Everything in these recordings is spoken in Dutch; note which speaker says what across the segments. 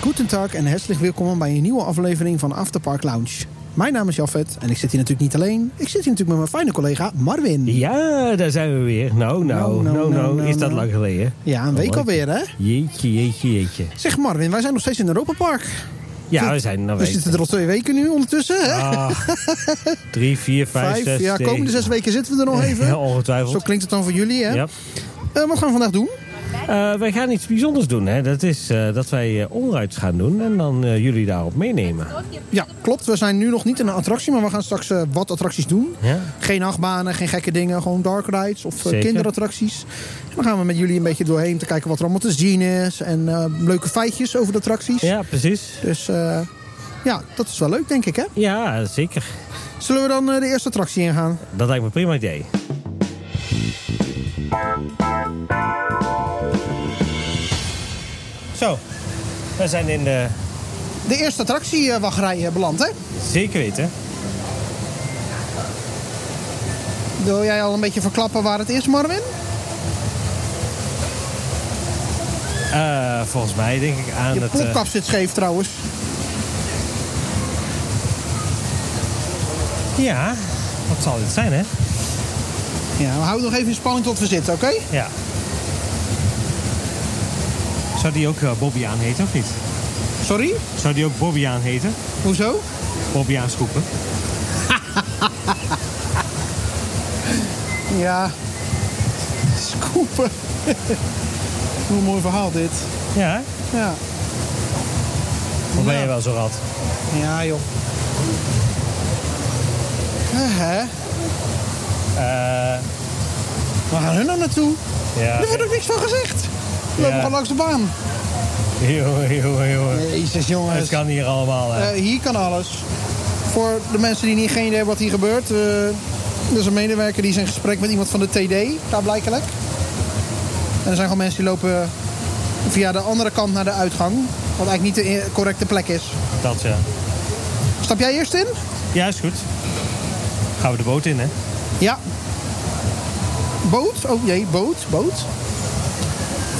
Speaker 1: Goedendag en herzlich welkom bij een nieuwe aflevering van Afterpark Lounge. Mijn naam is Jafet en ik zit hier natuurlijk niet alleen. Ik zit hier natuurlijk met mijn fijne collega Marvin.
Speaker 2: Ja, daar zijn we weer. Nou, nou,
Speaker 1: Nou, nou,
Speaker 2: nou,
Speaker 1: nou,
Speaker 2: nou.
Speaker 1: nou,
Speaker 2: Is dat
Speaker 1: nou.
Speaker 2: lang geleden?
Speaker 1: Ja, een week
Speaker 2: Mooi.
Speaker 1: alweer hè?
Speaker 2: Jeetje, jeetje, jeetje.
Speaker 1: Zeg Marvin, wij zijn nog steeds in Europa Park.
Speaker 2: Ja, we zijn er
Speaker 1: We
Speaker 2: alweer.
Speaker 1: zitten er al twee weken nu ondertussen hè?
Speaker 2: Ah, drie, vier, vijf, zes.
Speaker 1: ja,
Speaker 2: zeven.
Speaker 1: komende zes weken zitten we er nog even.
Speaker 2: Ja,
Speaker 1: Zo
Speaker 2: ongetwijfeld.
Speaker 1: klinkt het dan voor jullie hè?
Speaker 2: Ja.
Speaker 1: Eh, wat gaan we vandaag doen?
Speaker 2: Eh, wij gaan iets bijzonders doen. Hè. Dat is eh, dat wij eh, onderuits gaan doen en dan eh, jullie daarop meenemen.
Speaker 1: Ja, klopt. We zijn nu nog niet in een attractie, maar we gaan straks eh, wat attracties doen.
Speaker 2: Ja.
Speaker 1: Geen achtbanen, geen gekke dingen, gewoon dark rides of eh,
Speaker 2: Zeker.
Speaker 1: kinderattracties. En dan gaan we met jullie een beetje doorheen om te kijken wat er allemaal te zien is. En eh, leuke feitjes over de attracties.
Speaker 2: Ja, precies.
Speaker 1: Dus eh, ja, dat is wel leuk, denk ik, hè?
Speaker 2: Ja, zeker.
Speaker 1: Zullen we dan eh, de eerste attractie ingaan?
Speaker 2: Dat lijkt me een prima idee. Zo, we zijn in de...
Speaker 1: De eerste attractiewachtrij eh beland, hè?
Speaker 2: Zeker weten.
Speaker 1: Wil jij al een beetje verklappen waar het is, Marvin?
Speaker 2: Eh, volgens mij denk ik aan
Speaker 1: Je
Speaker 2: het... eh,
Speaker 1: plopkap zit scheef, trouwens.
Speaker 2: ja, wat zal dit zijn, hè?
Speaker 1: Ja, we houden nog even in spanning tot we zitten, oké?
Speaker 2: Ja. Zou die ook eh, Bobby aan heten, of niet?
Speaker 1: Sorry?
Speaker 2: Zou die ook Bobby aan heten?
Speaker 1: Hoezo?
Speaker 2: Bobby aanschoepen?
Speaker 1: Ja. Scoopen. Hoe een mooi verhaal dit.
Speaker 2: Ja, hè?
Speaker 1: Ja.
Speaker 2: Of ben
Speaker 1: Ja.
Speaker 2: je wel zo rad?
Speaker 1: Ja, joh. Eh, hè?
Speaker 2: Eh,
Speaker 1: Waar gaan hun nou naartoe?
Speaker 2: ja.
Speaker 1: Er wordt ook niks van gezegd. We lopen
Speaker 2: Ja.
Speaker 1: gewoon langs de baan.
Speaker 2: Jongen, jongen, jongen.
Speaker 1: Jezus, jongens.
Speaker 2: Het kan hier allemaal, hè?
Speaker 1: Eh, hier kan alles. Voor de mensen die niet geen idee hebben wat hier gebeurt. eh, er is een medewerker die is in gesprek met iemand van de TD, daar blijkelijk. En er zijn gewoon mensen die lopen via de andere kant naar de uitgang. Wat eigenlijk niet de eh, correcte plek is.
Speaker 2: Dat, ja.
Speaker 1: Stap jij eerst in?
Speaker 2: Ja, is goed. Gaan we de boot in, hè?
Speaker 1: Ja. Boot? Oh jee, boot, boot.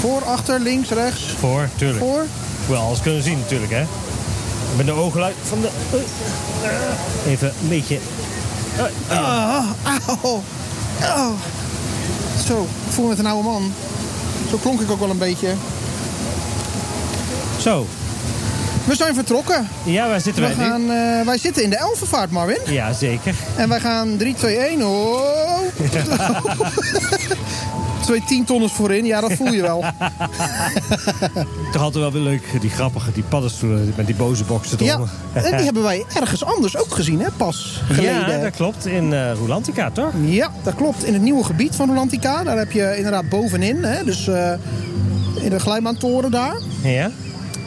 Speaker 1: Voor, achter, links, rechts,
Speaker 2: Voor, tuurlijk.
Speaker 1: voor.
Speaker 2: Wel, alles kunnen zien natuurlijk, hè. Met de ogen uit van de... Eh, Even een beetje...
Speaker 1: Ah, auw. Auw. Zo, ik voel me met een oude man. Zo klonk ik ook wel een beetje.
Speaker 2: Zo.
Speaker 1: We zijn vertrokken.
Speaker 2: Ja, waar zitten
Speaker 1: We
Speaker 2: wij nu?
Speaker 1: gaan, eh, wij zitten in de Elfenvaart, Marvin.
Speaker 2: Ja, zeker.
Speaker 1: En wij gaan 3, 2, 1. Oh. Twee tientonners voorin. Ja, dat voel je wel.
Speaker 2: Toch altijd wel weer leuk, die grappige, die paddenstoelen met die boze boxen
Speaker 1: Ja,
Speaker 2: eronder.
Speaker 1: en die hebben wij ergens anders ook gezien, hè? Pas geleden.
Speaker 2: Ja, dat klopt. In eh Rolantica, toch?
Speaker 1: Ja, dat klopt. In het nieuwe gebied van Rolantica. Daar heb je inderdaad bovenin. Hè, dus eh, in de glijbaantoren daar.
Speaker 2: Ja.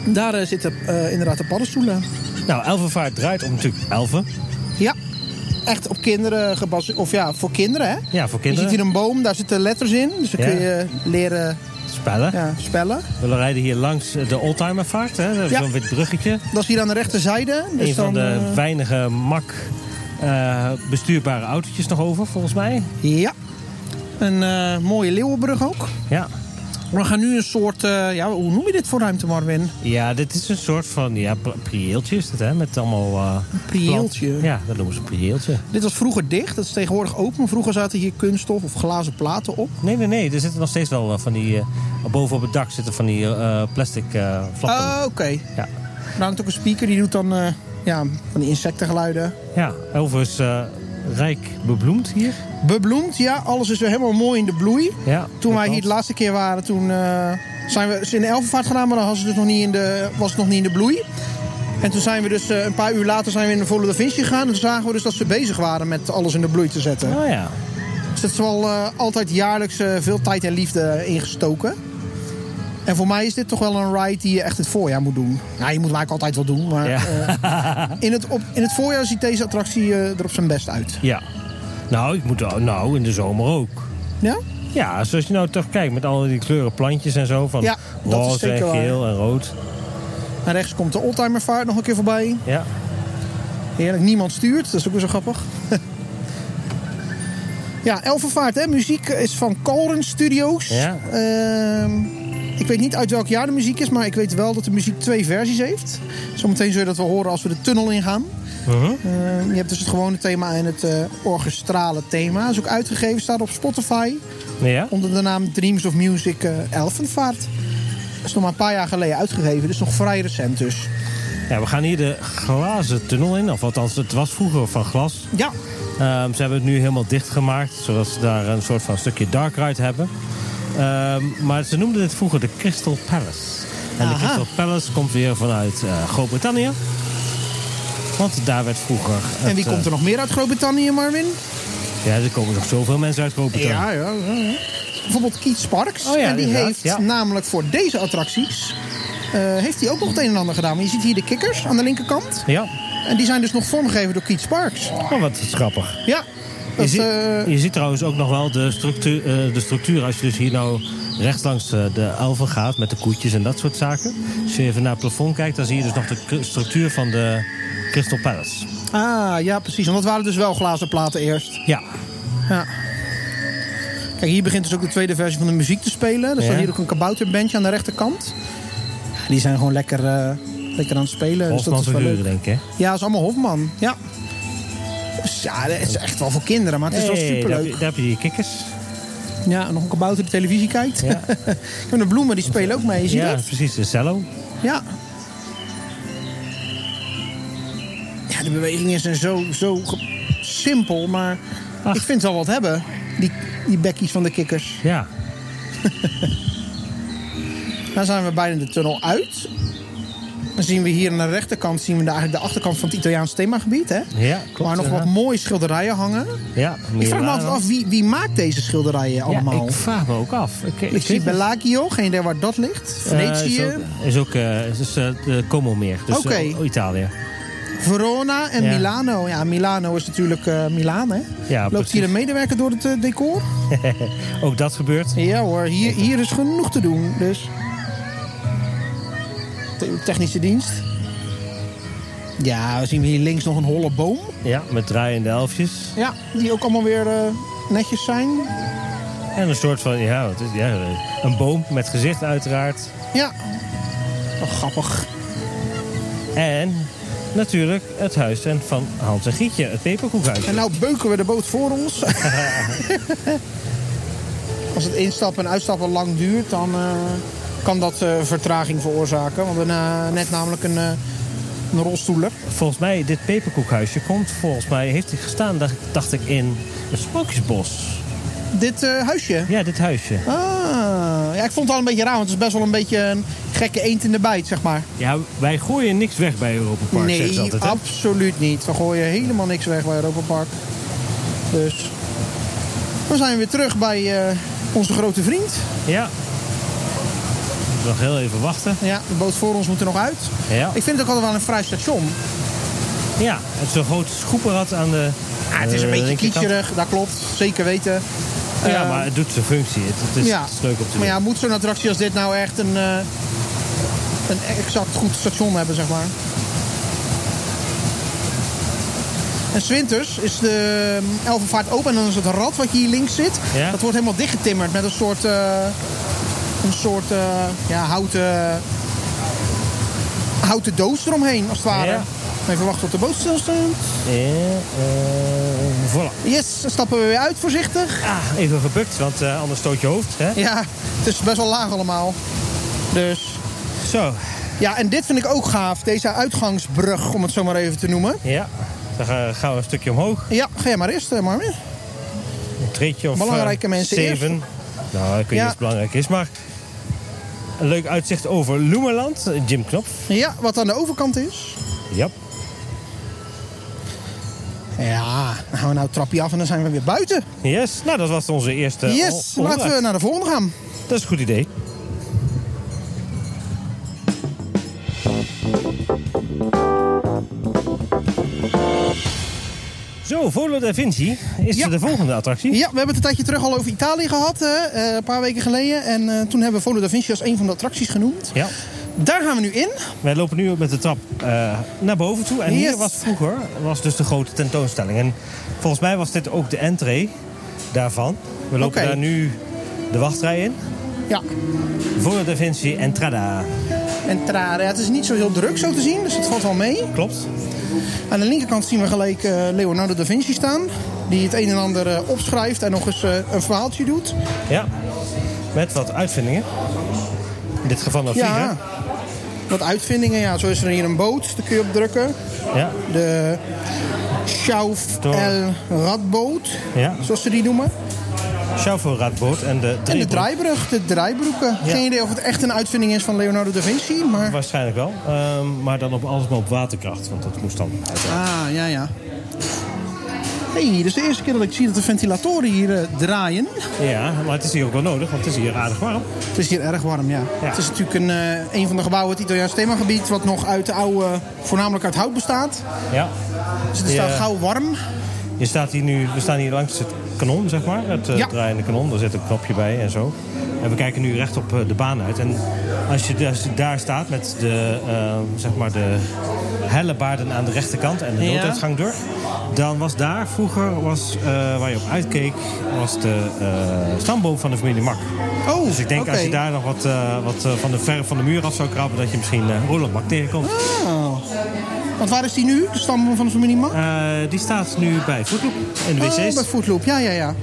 Speaker 1: Daar eh, zitten eh, inderdaad de paddenstoelen.
Speaker 2: Nou, Elvenvaart draait om natuurlijk elfen.
Speaker 1: Ja. Echt op kinderen gebaseerd. Of ja, voor kinderen hè. Je
Speaker 2: Ja, voor
Speaker 1: ziet
Speaker 2: kinderen.
Speaker 1: hier een boom, daar zitten letters in. Dus dan
Speaker 2: Ja.
Speaker 1: kun je leren
Speaker 2: Spellen.
Speaker 1: ja, spellen.
Speaker 2: We rijden hier langs eh, de Oldtimervaart. Hè? Dat is
Speaker 1: Ja.
Speaker 2: Zo'n wit bruggetje.
Speaker 1: Dat is hier aan de rechterzijde. Dus
Speaker 2: een van
Speaker 1: dan,
Speaker 2: de weinige mak eh, bestuurbare autootjes nog over, volgens mij.
Speaker 1: eh, ja. Een eh, mooie Leeuwenbrug ook.
Speaker 2: Ja.
Speaker 1: We gaan nu een soort, eh, ja, hoe noem je dit voor ruimte, Marvin?
Speaker 2: Ja, dit is een soort van ja, pri- prieeltje is het, hè? Met allemaal... eh,
Speaker 1: prieeltje.
Speaker 2: plant- Ja, dat noemen ze een prieeltje.
Speaker 1: Dit was vroeger dicht, dat is tegenwoordig open. Vroeger zaten hier kunststof of glazen platen op.
Speaker 2: Nee, nee, nee. Er zitten nog steeds wel eh, van die... eh, boven op het dak zitten van die eh, plastic eh flappen.
Speaker 1: Ah, oké.
Speaker 2: Ja.
Speaker 1: Er hangt ook een speaker, die doet dan eh, ja, van die insectengeluiden.
Speaker 2: ja, overigens eh, rijk bebloemd hier.
Speaker 1: Bebloemd, ja, alles is weer helemaal mooi in de bloei.
Speaker 2: Ja,
Speaker 1: Toen wij
Speaker 2: klopt.
Speaker 1: hier de laatste keer waren, toen eh, zijn we ze in de Elfenvaart gedaan, maar dan was het, dus nog niet in de, was het nog niet in de bloei. En toen zijn we dus eh, een paar uur later zijn we in de Volle da Vinci gegaan. En toen zagen we dus dat ze bezig waren met alles in de bloei te zetten.
Speaker 2: Oh ja.
Speaker 1: Dus dat is wel eh, altijd jaarlijks eh, veel tijd en liefde ingestoken. En voor mij is dit toch wel een ride die je echt het voorjaar moet doen. Nou, je moet hem eigenlijk altijd wel doen. Maar
Speaker 2: Ja.
Speaker 1: eh, in, het op, in het voorjaar ziet deze attractie eh, er op zijn best uit.
Speaker 2: ja. Nou, ik moet, wel- nou, in de zomer ook.
Speaker 1: Ja?
Speaker 2: Ja, zoals je nou toch kijkt met al die kleuren plantjes en zo. Van
Speaker 1: Ja, dat is
Speaker 2: roze
Speaker 1: zeker
Speaker 2: en
Speaker 1: waar.
Speaker 2: geel en rood.
Speaker 1: En rechts komt de oldtimervaart nog een keer voorbij.
Speaker 2: Ja.
Speaker 1: Heerlijk, niemand stuurt. Dat is ook weer zo grappig. ja, Elfenvaart, hè? Muziek is van Colren Studios.
Speaker 2: Ja.
Speaker 1: Ehm, Ik weet niet uit welk jaar de muziek is, maar ik weet wel dat de muziek twee versies heeft. Zometeen zul je dat wel horen als we de tunnel ingaan. Eh, je hebt dus het gewone thema en het eh, orchestrale thema. is ook uitgegeven, staat op Spotify
Speaker 2: Ja?
Speaker 1: onder de naam Dreams of Music eh Elfenvaart. is nog maar een paar jaar geleden uitgegeven, dus nog vrij recent dus.
Speaker 2: ja, we gaan hier de glazen tunnel in. Of althans, het was vroeger van glas.
Speaker 1: Ja,
Speaker 2: Ehm, ze hebben het nu helemaal dichtgemaakt, zodat ze daar een soort van stukje dark ride hebben. Ehm, maar ze noemden dit vroeger de Crystal Palace. En
Speaker 1: Aha.
Speaker 2: de Crystal Palace komt weer vanuit eh, Groot-Brittannië. Want daar werd vroeger. eh,
Speaker 1: en wie komt er nog meer uit Groot-Brittannië, Marvin?
Speaker 2: Ja, er komen nog zoveel mensen uit Groot-Brittannië.
Speaker 1: Ja, ja, ja, ja. Bijvoorbeeld Keith Sparks.
Speaker 2: Oh ja,
Speaker 1: en die
Speaker 2: inderdaad,
Speaker 1: heeft
Speaker 2: ja.
Speaker 1: namelijk voor deze attracties... eh, heeft hij ook nog het een en ander gedaan. Maar je ziet hier de kikkers aan de linkerkant.
Speaker 2: Ja,
Speaker 1: En die zijn dus nog vormgegeven door Keith Sparks.
Speaker 2: oh, wat grappig.
Speaker 1: Ja,
Speaker 2: Je,
Speaker 1: dat,
Speaker 2: ziet,
Speaker 1: eh,
Speaker 2: je ziet trouwens ook nog wel de structuur, eh, de structuur. Als je dus hier nou rechts langs eh, de elven gaat met de koetjes en dat soort zaken. Als je even naar het plafond kijkt, dan zie je dus nog de k- structuur van de Crystal Palace.
Speaker 1: Ah, ja, precies. Want dat waren dus wel glazen platen eerst.
Speaker 2: Ja,
Speaker 1: Ja. Kijk, hier begint dus ook de tweede versie van de muziek te spelen. Er staat
Speaker 2: Ja.
Speaker 1: hier ook een kabouterbandje aan de rechterkant. Ja, Die zijn gewoon lekker, eh, lekker aan het spelen. Dus dat
Speaker 2: Hofman
Speaker 1: is wel leuk.
Speaker 2: figuren denk ik. hè?
Speaker 1: Ja, dat is allemaal Hofman. Ja. Dus ja, het is echt wel voor kinderen, maar het is
Speaker 2: Hey,
Speaker 1: wel
Speaker 2: daar, heb
Speaker 1: superleuk.
Speaker 2: je- daar heb je die kikkers.
Speaker 1: Ja, en nog een kabouter die televisie kijkt.
Speaker 2: Ja.
Speaker 1: en de bloemen, die spelen ook mee, zie je
Speaker 2: ja,
Speaker 1: dat?
Speaker 2: precies, de cello.
Speaker 1: Ja. Ja, de bewegingen zijn zo, zo ge- simpel, maar
Speaker 2: Ach.
Speaker 1: ik vind ze wel wat hebben. Die, die bekkies van de kikkers.
Speaker 2: Ja,
Speaker 1: Dan zijn we bijna de tunnel uit. Dan zien we hier aan de rechterkant zien we de, eigenlijk de achterkant van het Italiaans themagebied. Hè?
Speaker 2: ja klopt.
Speaker 1: Waar nog wat
Speaker 2: inderdaad.
Speaker 1: mooie schilderijen hangen.
Speaker 2: Ja,
Speaker 1: Ik vraag me
Speaker 2: Milaan.
Speaker 1: altijd af, wie, wie maakt deze schilderijen allemaal?
Speaker 2: Ja, ik vraag me ook af. Ik, ik
Speaker 1: Ik zie
Speaker 2: weet het.
Speaker 1: Bellagio, geen idee waar dat ligt.
Speaker 2: Eh,
Speaker 1: Venetië,
Speaker 2: is ook, is ook eh, is dus, eh, de Como meer, dus
Speaker 1: Oké.
Speaker 2: eh, Italië.
Speaker 1: Verona en
Speaker 2: Ja.
Speaker 1: Milano. Ja, Milano is natuurlijk eh Milaan, hè?
Speaker 2: Ja,
Speaker 1: Loopt
Speaker 2: precies.
Speaker 1: hier een medewerker door het eh, decor?
Speaker 2: ook dat gebeurt.
Speaker 1: Ja hoor, hier, hier is genoeg te doen. Dus. Te- Technische dienst. Ja, we zien hier links nog een holle boom.
Speaker 2: Ja, met draaiende elfjes.
Speaker 1: Ja, die ook allemaal weer eh, netjes zijn.
Speaker 2: En een soort van, ja, wat is, ja eh, een boom met gezicht uiteraard.
Speaker 1: Ja. Oh, grappig.
Speaker 2: En natuurlijk het huis en van Hans en Gietje, het peperkoekhuis.
Speaker 1: En nou beuken we de boot voor ons. Als het instappen en uitstappen lang duurt, dan eh, kan dat eh, vertraging veroorzaken. Want we hebben net namelijk een, eh, een rolstoeler.
Speaker 2: Volgens mij, dit peperkoekhuisje komt volgens mij, heeft hij gestaan, dacht, dacht ik, in het Sprookjesbos.
Speaker 1: Dit eh, huisje.
Speaker 2: Ja, dit huisje.
Speaker 1: Ah, ja, ik vond het al een beetje raar, want het is best wel een beetje een gekke eend in de bijt, zeg maar.
Speaker 2: Ja, wij gooien niks weg bij Europa Park, zeggen ze
Speaker 1: nee,
Speaker 2: altijd. hè?
Speaker 1: absoluut niet. We gooien helemaal niks weg bij Europa Park. Dus dan zijn we weer terug bij eh, onze grote vriend.
Speaker 2: Ja. Nog heel even wachten.
Speaker 1: Ja, de boot voor ons moet er nog uit.
Speaker 2: Ja.
Speaker 1: Ik vind het ook altijd wel een vrij station.
Speaker 2: Ja, het is een groot schoepenrad aan de.
Speaker 1: Ja, Ah, het is een
Speaker 2: eh,
Speaker 1: beetje
Speaker 2: linkerkant.
Speaker 1: kitscherig, dat klopt. Zeker weten.
Speaker 2: Ja,
Speaker 1: Eh,
Speaker 2: maar het doet zijn functie. Het, het is, het is leuk om te doen.
Speaker 1: Maar ja, moet zo'n attractie als dit nou echt een, eh, een exact goed station hebben, zeg maar. En Swinters is de mm, Elvenvaart open en dan is het rad wat je hier links zit.
Speaker 2: Ja.
Speaker 1: Dat wordt helemaal dichtgetimmerd met een soort, eh, een soort eh, ja, houten, houten doos eromheen, als het ware.
Speaker 2: Ja.
Speaker 1: Even wachten tot de boot stilstaat.
Speaker 2: Ja, eh, voilà.
Speaker 1: Yes, dan stappen we weer uit voorzichtig.
Speaker 2: Ah, even gebukt, want eh, anders stoot je hoofd. Hè?
Speaker 1: Ja, het is best wel laag allemaal. Dus
Speaker 2: Zo,
Speaker 1: Ja, en dit vind ik ook gaaf. Deze uitgangsbrug, om het zo maar even te noemen.
Speaker 2: ja. Dan gaan- gaan we een stukje omhoog.
Speaker 1: Ja, ga jij maar eerst, eh, Marvin.
Speaker 2: Een treetje of
Speaker 1: Belangrijke
Speaker 2: eh,
Speaker 1: mensen
Speaker 2: zeven. Nou, ik weet niet
Speaker 1: Ja.
Speaker 2: of het belangrijk is, maar... Een leuk uitzicht over Loemerland. Jim Knop.
Speaker 1: Ja, wat aan de overkant is.
Speaker 2: Ja.
Speaker 1: Ja, dan gaan we nou het trapje af en dan zijn we weer buiten.
Speaker 2: Yes, nou dat was onze eerste
Speaker 1: yes,
Speaker 2: on-
Speaker 1: laten we naar de volgende gaan.
Speaker 2: Dat is een goed idee. Zo, Volo da Vinci is
Speaker 1: Ja.
Speaker 2: de volgende attractie.
Speaker 1: Ja, we hebben het een tijdje terug al over Italië gehad, eh, eh, een paar weken geleden. En eh, toen hebben we Volo da Vinci als een van de attracties genoemd.
Speaker 2: Ja.
Speaker 1: Daar gaan we nu in.
Speaker 2: Wij lopen nu met de trap eh, naar boven toe. En
Speaker 1: Yes.
Speaker 2: hier was vroeger was dus de grote tentoonstelling. En volgens mij was dit ook de entree daarvan. We lopen
Speaker 1: Oké.
Speaker 2: daar nu de wachtrij in.
Speaker 1: Ja.
Speaker 2: Voor Da Vinci Entrada.
Speaker 1: En Trara, ja, het is niet zo heel druk zo te zien, dus het valt wel mee.
Speaker 2: Klopt.
Speaker 1: Aan de linkerkant zien we gelijk eh, Leonardo da Vinci staan. Die het een en ander eh, opschrijft en nog eens eh, een verhaaltje doet.
Speaker 2: Ja. Met wat uitvindingen. In dit geval een vlieger.
Speaker 1: Ja. Wat uitvindingen, ja. Zo is er hier een boot, daar kun je op drukken.
Speaker 2: Ja.
Speaker 1: De Schauf
Speaker 2: Door.
Speaker 1: El Radboot,
Speaker 2: Ja.
Speaker 1: zoals ze die noemen.
Speaker 2: Schaufelradboot en de
Speaker 1: En de
Speaker 2: driehoek.
Speaker 1: draaibrug, de draaibroeken.
Speaker 2: Ja.
Speaker 1: Geen idee of het echt een uitvinding is van Leonardo da Vinci, maar...
Speaker 2: Waarschijnlijk wel. Ehm, maar dan op alles maar op waterkracht. Want dat moest dan uit.
Speaker 1: Ah, ja, ja. Hé, hey, dus de eerste keer dat ik zie dat de ventilatoren hier eh, draaien.
Speaker 2: Ja, maar het is hier ook wel nodig. Want het is hier aardig warm.
Speaker 1: Het is hier erg warm, ja.
Speaker 2: Ja.
Speaker 1: Het is natuurlijk een, eh, een van de gebouwen, het Italiaans themagebied, wat nog uit de oude, voornamelijk uit hout bestaat.
Speaker 2: Ja.
Speaker 1: Dus het
Speaker 2: Ja.
Speaker 1: staat gauw warm.
Speaker 2: Je staat hier nu, we staan hier langs het kanon, zeg maar. Het eh,
Speaker 1: Ja.
Speaker 2: draaiende kanon. Daar zit een knopje bij en zo. En we kijken nu recht op eh, de baan uit. En als je, als je daar staat met de, eh, zeg maar de hellebaarden aan de rechterkant en de
Speaker 1: Ja.
Speaker 2: nooduitgang door... dan was daar vroeger, was, eh, waar je op uitkeek, was de eh, stamboom van de familie Mak.
Speaker 1: Oh,
Speaker 2: Dus ik denk als je daar nog wat, eh, wat eh, van de verf van de muur af zou krabben... dat je misschien eh Roland Mak tegenkomt.
Speaker 1: Oh. Want waar is die nu, de stamboom van de familie Mak?
Speaker 2: Eh, die staat nu bij Voetloop in de wc's.
Speaker 1: Oh, bij Footloop, ja, ja, ja.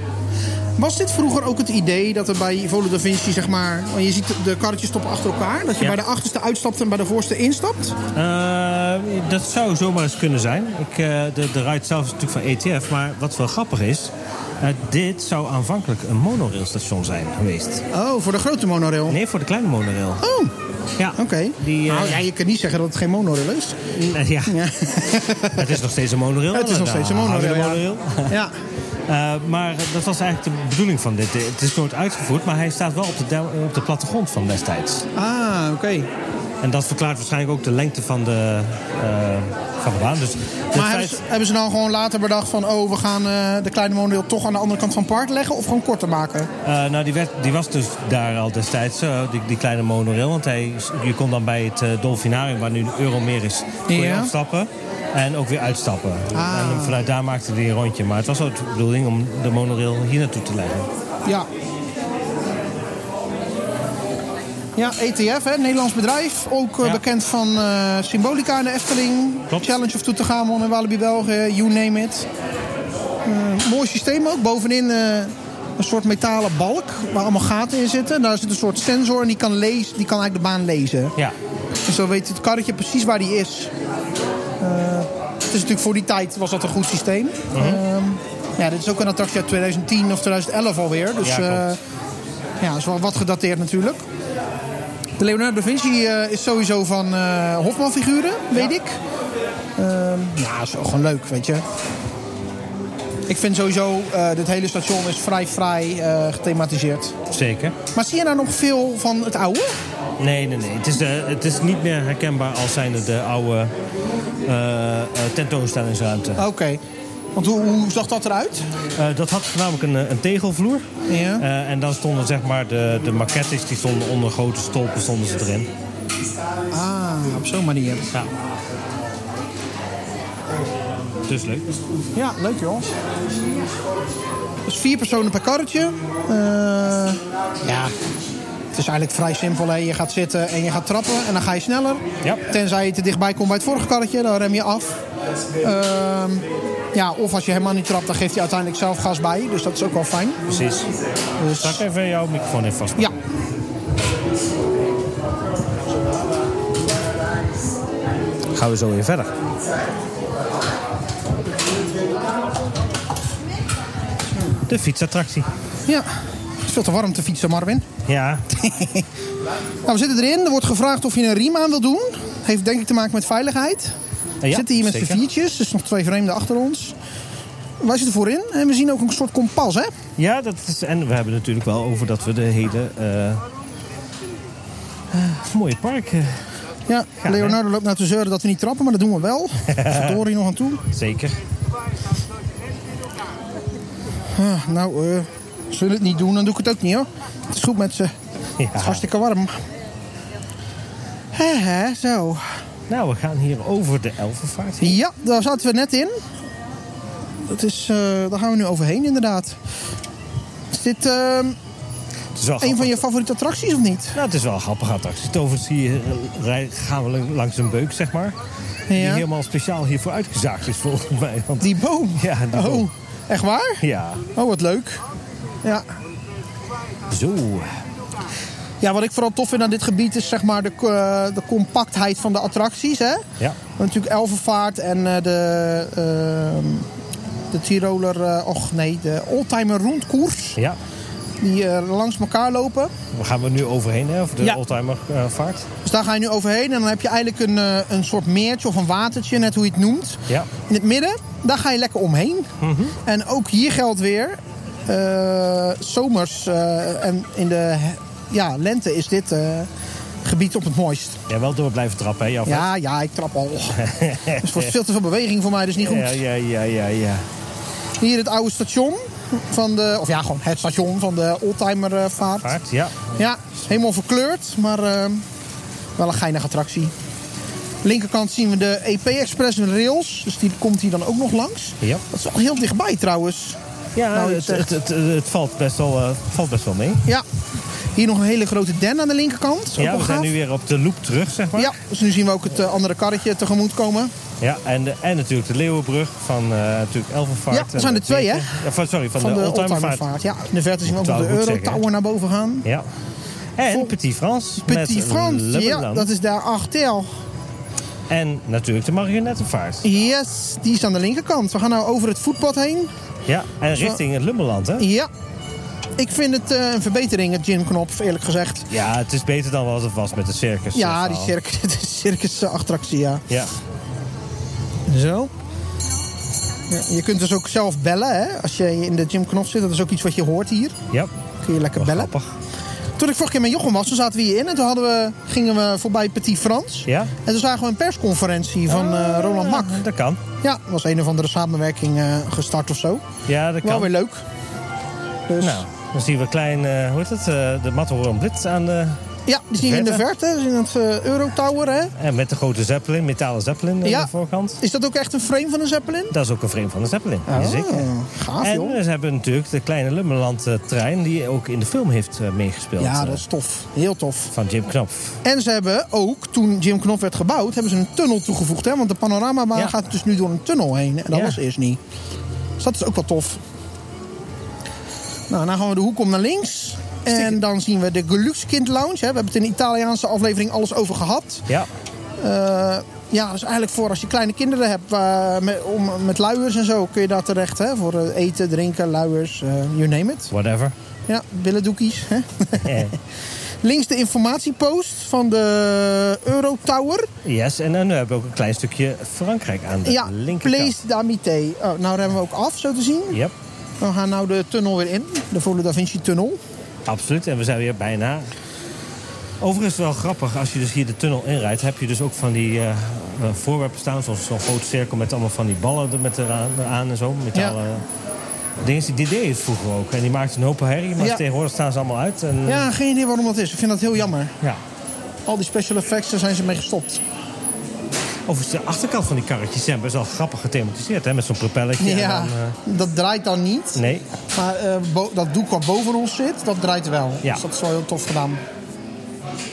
Speaker 1: Was dit vroeger ook het idee dat er bij Volo da Vinci, zeg maar... want je ziet de karretjes stoppen achter elkaar. Dat je
Speaker 2: Ja.
Speaker 1: bij de achterste uitstapt en bij de voorste instapt.
Speaker 2: Eh, dat zou zomaar eens kunnen zijn. Ik, eh, de, de ride zelf is natuurlijk van ETF, maar wat wel grappig is... eh, dit zou aanvankelijk een monorailstation zijn geweest.
Speaker 1: Oh, voor de grote monorail.
Speaker 2: Nee, voor de kleine monorail.
Speaker 1: Oh,
Speaker 2: Ja.
Speaker 1: oké.
Speaker 2: Die, eh,
Speaker 1: Nou ja, je kunt niet zeggen dat het geen monorail is.
Speaker 2: eh, ja.
Speaker 1: Ja.
Speaker 2: Het is nog steeds een monorail. Nou,
Speaker 1: het is nog
Speaker 2: Daar
Speaker 1: steeds een
Speaker 2: houden we
Speaker 1: monorail,
Speaker 2: de
Speaker 1: ja. ja.
Speaker 2: Eh, maar dat was eigenlijk de bedoeling van dit. Het is nooit uitgevoerd, maar hij staat wel op de, del- op de plattegrond van destijds.
Speaker 1: Ah, oké.
Speaker 2: En dat verklaart waarschijnlijk ook de lengte van de, eh, van de baan. Dus het
Speaker 1: Maar hebben
Speaker 2: feit-
Speaker 1: ze, hebben ze nou gewoon later bedacht van... oh, we gaan eh, de kleine monorail toch aan de andere kant van het park leggen... of gewoon korter maken?
Speaker 2: Eh, nou, die, werd, die was dus daar al destijds, eh, die, die kleine monorail. Want hij, je kon dan bij het eh, Dolfinarium, waar nu de Euromeer is, kon je
Speaker 1: Ja.
Speaker 2: afstappen en ook weer uitstappen.
Speaker 1: Ah.
Speaker 2: En vanuit daar maakte hij een rondje. Maar het was ook de bedoeling om de monorail hier naartoe te leggen.
Speaker 1: Ja. Ja, ETF, hè, Nederlands bedrijf. Ook eh,
Speaker 2: Ja.
Speaker 1: bekend van eh, Symbolica in de Efteling.
Speaker 2: Klopt.
Speaker 1: Challenge of Toetegamon en Walibi België, you name it. Eh, mooi systeem ook. Bovenin eh, een soort metalen balk waar allemaal gaten in zitten. Daar zit een soort sensor en die kan, lezen, die kan eigenlijk de baan lezen.
Speaker 2: Ja,
Speaker 1: Dus zo weet het karretje precies waar die is. Eh, het is natuurlijk voor die tijd was dat een goed systeem. Ehm, ja, dit is ook een attractie uit 2010 of 2011 alweer. Dus
Speaker 2: Ja,
Speaker 1: ja,
Speaker 2: klopt.
Speaker 1: ja is wel wat gedateerd natuurlijk. De Leonardo da Vinci eh, is sowieso van eh Hofman-figuren, weet ik. Ehm, ja, is ook gewoon leuk, weet je. Ik vind sowieso, eh dit hele station is vrij vrij eh, gethematiseerd.
Speaker 2: zeker.
Speaker 1: Maar zie je nou nog veel van het oude?
Speaker 2: Nee, nee, nee. Het is, de, het is niet meer herkenbaar als zijnde de oude eh, eh, tentoonstellingsruimte.
Speaker 1: Oké. Want hoe, hoe zag dat eruit?
Speaker 2: Eh, dat had voornamelijk een, eh, een tegelvloer.
Speaker 1: Ja.
Speaker 2: Eh, en dan stonden zeg maar de, de maquettes, die stonden onder grote stolpen stonden ze erin.
Speaker 1: Ah, op zo'n manier.
Speaker 2: Ja. Dus leuk.
Speaker 1: Ja, leuk joh. Dus vier personen per karretje. Eh, ja, het is eigenlijk vrij simpel. Hè. Je gaat zitten en je gaat trappen en dan ga je sneller.
Speaker 2: Ja.
Speaker 1: Tenzij je te dichtbij komt bij het vorige karretje, dan rem je af. Ehm, ja, of als je helemaal niet trapt, dan geeft hij uiteindelijk zelf gas bij. Dus dat is ook wel fijn.
Speaker 2: Precies.
Speaker 1: Dus,
Speaker 2: Zal ik even jouw microfoon even vastpakken?
Speaker 1: ja.
Speaker 2: Gaan we zo weer verder. De fietsattractie.
Speaker 1: ja, het is veel te warm te fietsen, Marvin.
Speaker 2: Ja,
Speaker 1: Nou, we zitten erin. Er wordt gevraagd of je een riem aan wil doen. Heeft denk ik te maken met veiligheid.
Speaker 2: Eh, ja,
Speaker 1: we zitten hier met
Speaker 2: zeker.
Speaker 1: z'n viertjes, dus nog twee vreemden achter ons. Wij zitten voorin en we zien ook een soort kompas, hè?
Speaker 2: ja dat is, en we hebben natuurlijk wel over dat we de hele eh, eh, mooie park... eh,
Speaker 1: Ja,
Speaker 2: Ja,
Speaker 1: Leonardo loopt naar te zeuren dat we niet trappen, maar dat doen we wel. Verdorie nog aan toe.
Speaker 2: zeker.
Speaker 1: Ah, nou, eh zullen het niet doen, dan doe ik het ook niet, hoor. Het is goed met ze. Het is
Speaker 2: Ja.
Speaker 1: hartstikke warm. Hè, hè, zo.
Speaker 2: Nou, we gaan hier over de Elfenvaart. heen.
Speaker 1: Ja, daar zaten we net in. Dat is, eh, daar gaan we nu overheen, inderdaad. Is dit... ehm,
Speaker 2: Het is wel
Speaker 1: Een
Speaker 2: grappig.
Speaker 1: van je favoriete attracties of niet?
Speaker 2: Nou, het is wel een grappige attractie. Tovens hier eh, rij- gaan we langs een beuk, zeg maar. Die
Speaker 1: Ja.
Speaker 2: helemaal speciaal hiervoor uitgezaagd is, volgens mij. Want,
Speaker 1: Die boom.
Speaker 2: Ja, die
Speaker 1: oh,
Speaker 2: boom.
Speaker 1: echt waar?
Speaker 2: Ja,
Speaker 1: Oh, wat leuk. Ja.
Speaker 2: zo.
Speaker 1: ja, wat ik vooral tof vind aan dit gebied is zeg maar de, eh, de compactheid van de attracties. Hè?
Speaker 2: Ja.
Speaker 1: Want natuurlijk Elvenvaart en eh, de, ehm, de Tiroler, eh, och nee, de Oldtimer Rondkoers.
Speaker 2: ja.
Speaker 1: Die eh, langs elkaar lopen.
Speaker 2: Waar gaan we nu overheen, hè? Of de
Speaker 1: Ja.
Speaker 2: oldtimer eh, vaart?
Speaker 1: Dus daar ga je nu overheen en dan heb je eigenlijk een, eh, een soort meertje of een watertje, net hoe je het noemt.
Speaker 2: Ja. Mhm.
Speaker 1: In het midden, daar ga je lekker omheen. En ook hier geldt weer, eh, zomers eh, en in de he- ja, lente is dit eh, gebied op het mooist.
Speaker 2: Ja, wel door blijven trappen, hè? Jaap?
Speaker 1: Ja, ja, ik trap al. Het wordt veel te veel beweging voor mij, dus niet goed.
Speaker 2: Ja, ja, ja, ja, ja.
Speaker 1: Hier het oude station van de, of ja, gewoon het station van de oldtimer eh, vaart.
Speaker 2: Vaart, ja.
Speaker 1: Ja, helemaal verkleurd, maar ehm, wel een geinige attractie. Linkerkant zien we de EP Express en rails, dus die komt hier dan ook nog langs.
Speaker 2: Ja.
Speaker 1: Dat is wel heel dichtbij trouwens.
Speaker 2: Ja,
Speaker 1: Nou, je
Speaker 2: het,
Speaker 1: zegt-
Speaker 2: het, het, het valt, best wel, eh, valt best wel mee.
Speaker 1: Ja, hier nog een hele grote den aan de linkerkant. Ook
Speaker 2: Ja,
Speaker 1: wel
Speaker 2: we zijn
Speaker 1: gaaf.
Speaker 2: nu weer op de loop terug, zeg maar.
Speaker 1: Ja, dus nu zien we ook het eh, andere karretje tegemoet komen.
Speaker 2: Ja, en, de- en natuurlijk de Leeuwenbrug van eh natuurlijk Elvenvaart.
Speaker 1: Ja, dat
Speaker 2: en
Speaker 1: zijn
Speaker 2: de
Speaker 1: er twee, hè?
Speaker 2: Beertje. Ja, van- sorry, van,
Speaker 1: Van
Speaker 2: de,
Speaker 1: de
Speaker 2: Oldtimervaart.
Speaker 1: oldtimervaart. Ja, in de verte zien we ook
Speaker 2: Moet
Speaker 1: nog de
Speaker 2: wel goed zeggen, hè?
Speaker 1: Eurotower naar boven gaan.
Speaker 2: Ja. En
Speaker 1: Vol-
Speaker 2: Petit Frans.
Speaker 1: Petit
Speaker 2: met
Speaker 1: France, ja,
Speaker 2: Lumberland.
Speaker 1: dat is daar achter.
Speaker 2: En natuurlijk de marionettenvaart.
Speaker 1: Yes, die is aan de linkerkant. We gaan nou over het voetpad heen.
Speaker 2: Ja, en richting het Lumberland, hè?
Speaker 1: Ja, ik vind het eh, een verbetering, het gymknop, eerlijk gezegd.
Speaker 2: Ja, het is beter dan wat het was met de circus.
Speaker 1: Ja,
Speaker 2: eh,
Speaker 1: die
Speaker 2: verhaal.
Speaker 1: circus, de circus eh, attractie, ja.
Speaker 2: Ja.
Speaker 1: Zo. Ja, je kunt dus ook zelf bellen, hè. Als je in de gymknop zit, dat is ook iets wat je hoort hier.
Speaker 2: Ja.
Speaker 1: Kun je lekker
Speaker 2: Wel
Speaker 1: bellen.
Speaker 2: Grappig.
Speaker 1: Toen ik vorige keer met Jochem was, toen zaten we hierin. En toen hadden we, gingen we voorbij Petit Frans.
Speaker 2: Ja. Ah.
Speaker 1: En toen zagen we een persconferentie van eh, Roland Mak.
Speaker 2: Ja, Dat kan.
Speaker 1: Ja, er was een of andere samenwerking eh, gestart of zo.
Speaker 2: Ja, dat
Speaker 1: Wel
Speaker 2: kan.
Speaker 1: weer leuk. Dus,
Speaker 2: Nou, dan zien we klein, eh, hoe heet het, eh, de Matterhorn Blitz aan de...
Speaker 1: ja, die zien we in de verte. Dat is in het eh, Eurotower, hè.
Speaker 2: En eh, met de grote Zeppelin, metalen Zeppelin aan
Speaker 1: Ja.
Speaker 2: de voorkant.
Speaker 1: Is dat ook echt een frame van een Zeppelin?
Speaker 2: Dat is ook een frame van de Zeppelin.
Speaker 1: Ah,
Speaker 2: Jazeker.
Speaker 1: gaaf,
Speaker 2: en eh,
Speaker 1: joh.
Speaker 2: ze hebben natuurlijk de kleine Lummerland-trein... die ook in de film heeft eh, meegespeeld.
Speaker 1: Ja,
Speaker 2: eh,
Speaker 1: dat is tof. Heel tof.
Speaker 2: Van Jim Knopf.
Speaker 1: En ze hebben ook, toen Jim Knopf werd gebouwd, hebben ze een tunnel toegevoegd. Hè? Want de panoramabaan
Speaker 2: Ja.
Speaker 1: gaat dus nu door een tunnel heen. En dat
Speaker 2: Ja.
Speaker 1: was eerst niet. Dus dat is ook wel tof. Nou, dan gaan we de hoek om naar links. En dan zien we de Geluxe Kind Lounge. Hè? We hebben het in de Italiaanse aflevering alles over gehad.
Speaker 2: Ja,
Speaker 1: Eh, ja, dat is eigenlijk voor als je kleine kinderen hebt. eh, met, om, met luiers en zo kun je daar terecht. Hè? Voor eh, eten, drinken, luiers, eh, you name it.
Speaker 2: whatever.
Speaker 1: Ja, billendoekies. Hè?
Speaker 2: Eh,
Speaker 1: Links de informatiepost van de Eurotower.
Speaker 2: yes, en dan hebben we ook een klein stukje Frankrijk aan de
Speaker 1: Ja,
Speaker 2: linkerkant.
Speaker 1: Place d'Amité. Oh, nou remmen we ook af, zo te zien.
Speaker 2: Yep,
Speaker 1: We gaan nou de tunnel weer in. De Volle Da Vinci tunnel.
Speaker 2: absoluut. En we zijn weer bijna... Overigens wel grappig, als je dus hier de tunnel inrijdt... heb je dus ook van die eh, eh, voorwerpen staan... zoals zo'n groot cirkel met allemaal van die ballen er met eraan, eraan en zo. Metalen... Dingen die die deed het vroeger ook. En die maakte een hoop herrie, maar
Speaker 1: Ja.
Speaker 2: tegenwoordig staan ze allemaal uit. En,
Speaker 1: Ja, geen idee waarom dat is. Ik vind dat heel jammer.
Speaker 2: ja.
Speaker 1: Al die special effects, daar zijn ze mee gestopt.
Speaker 2: Overigens, de achterkant van die karretjes zijn best wel grappig gethematiseerd, hè? Met zo'n propelletje. en
Speaker 1: Ja,
Speaker 2: dan, eh,
Speaker 1: dat draait dan niet.
Speaker 2: nee,
Speaker 1: Maar eh, bo- dat doek wat boven ons zit, dat draait wel.
Speaker 2: Ja.
Speaker 1: Dus dat is wel heel tof gedaan.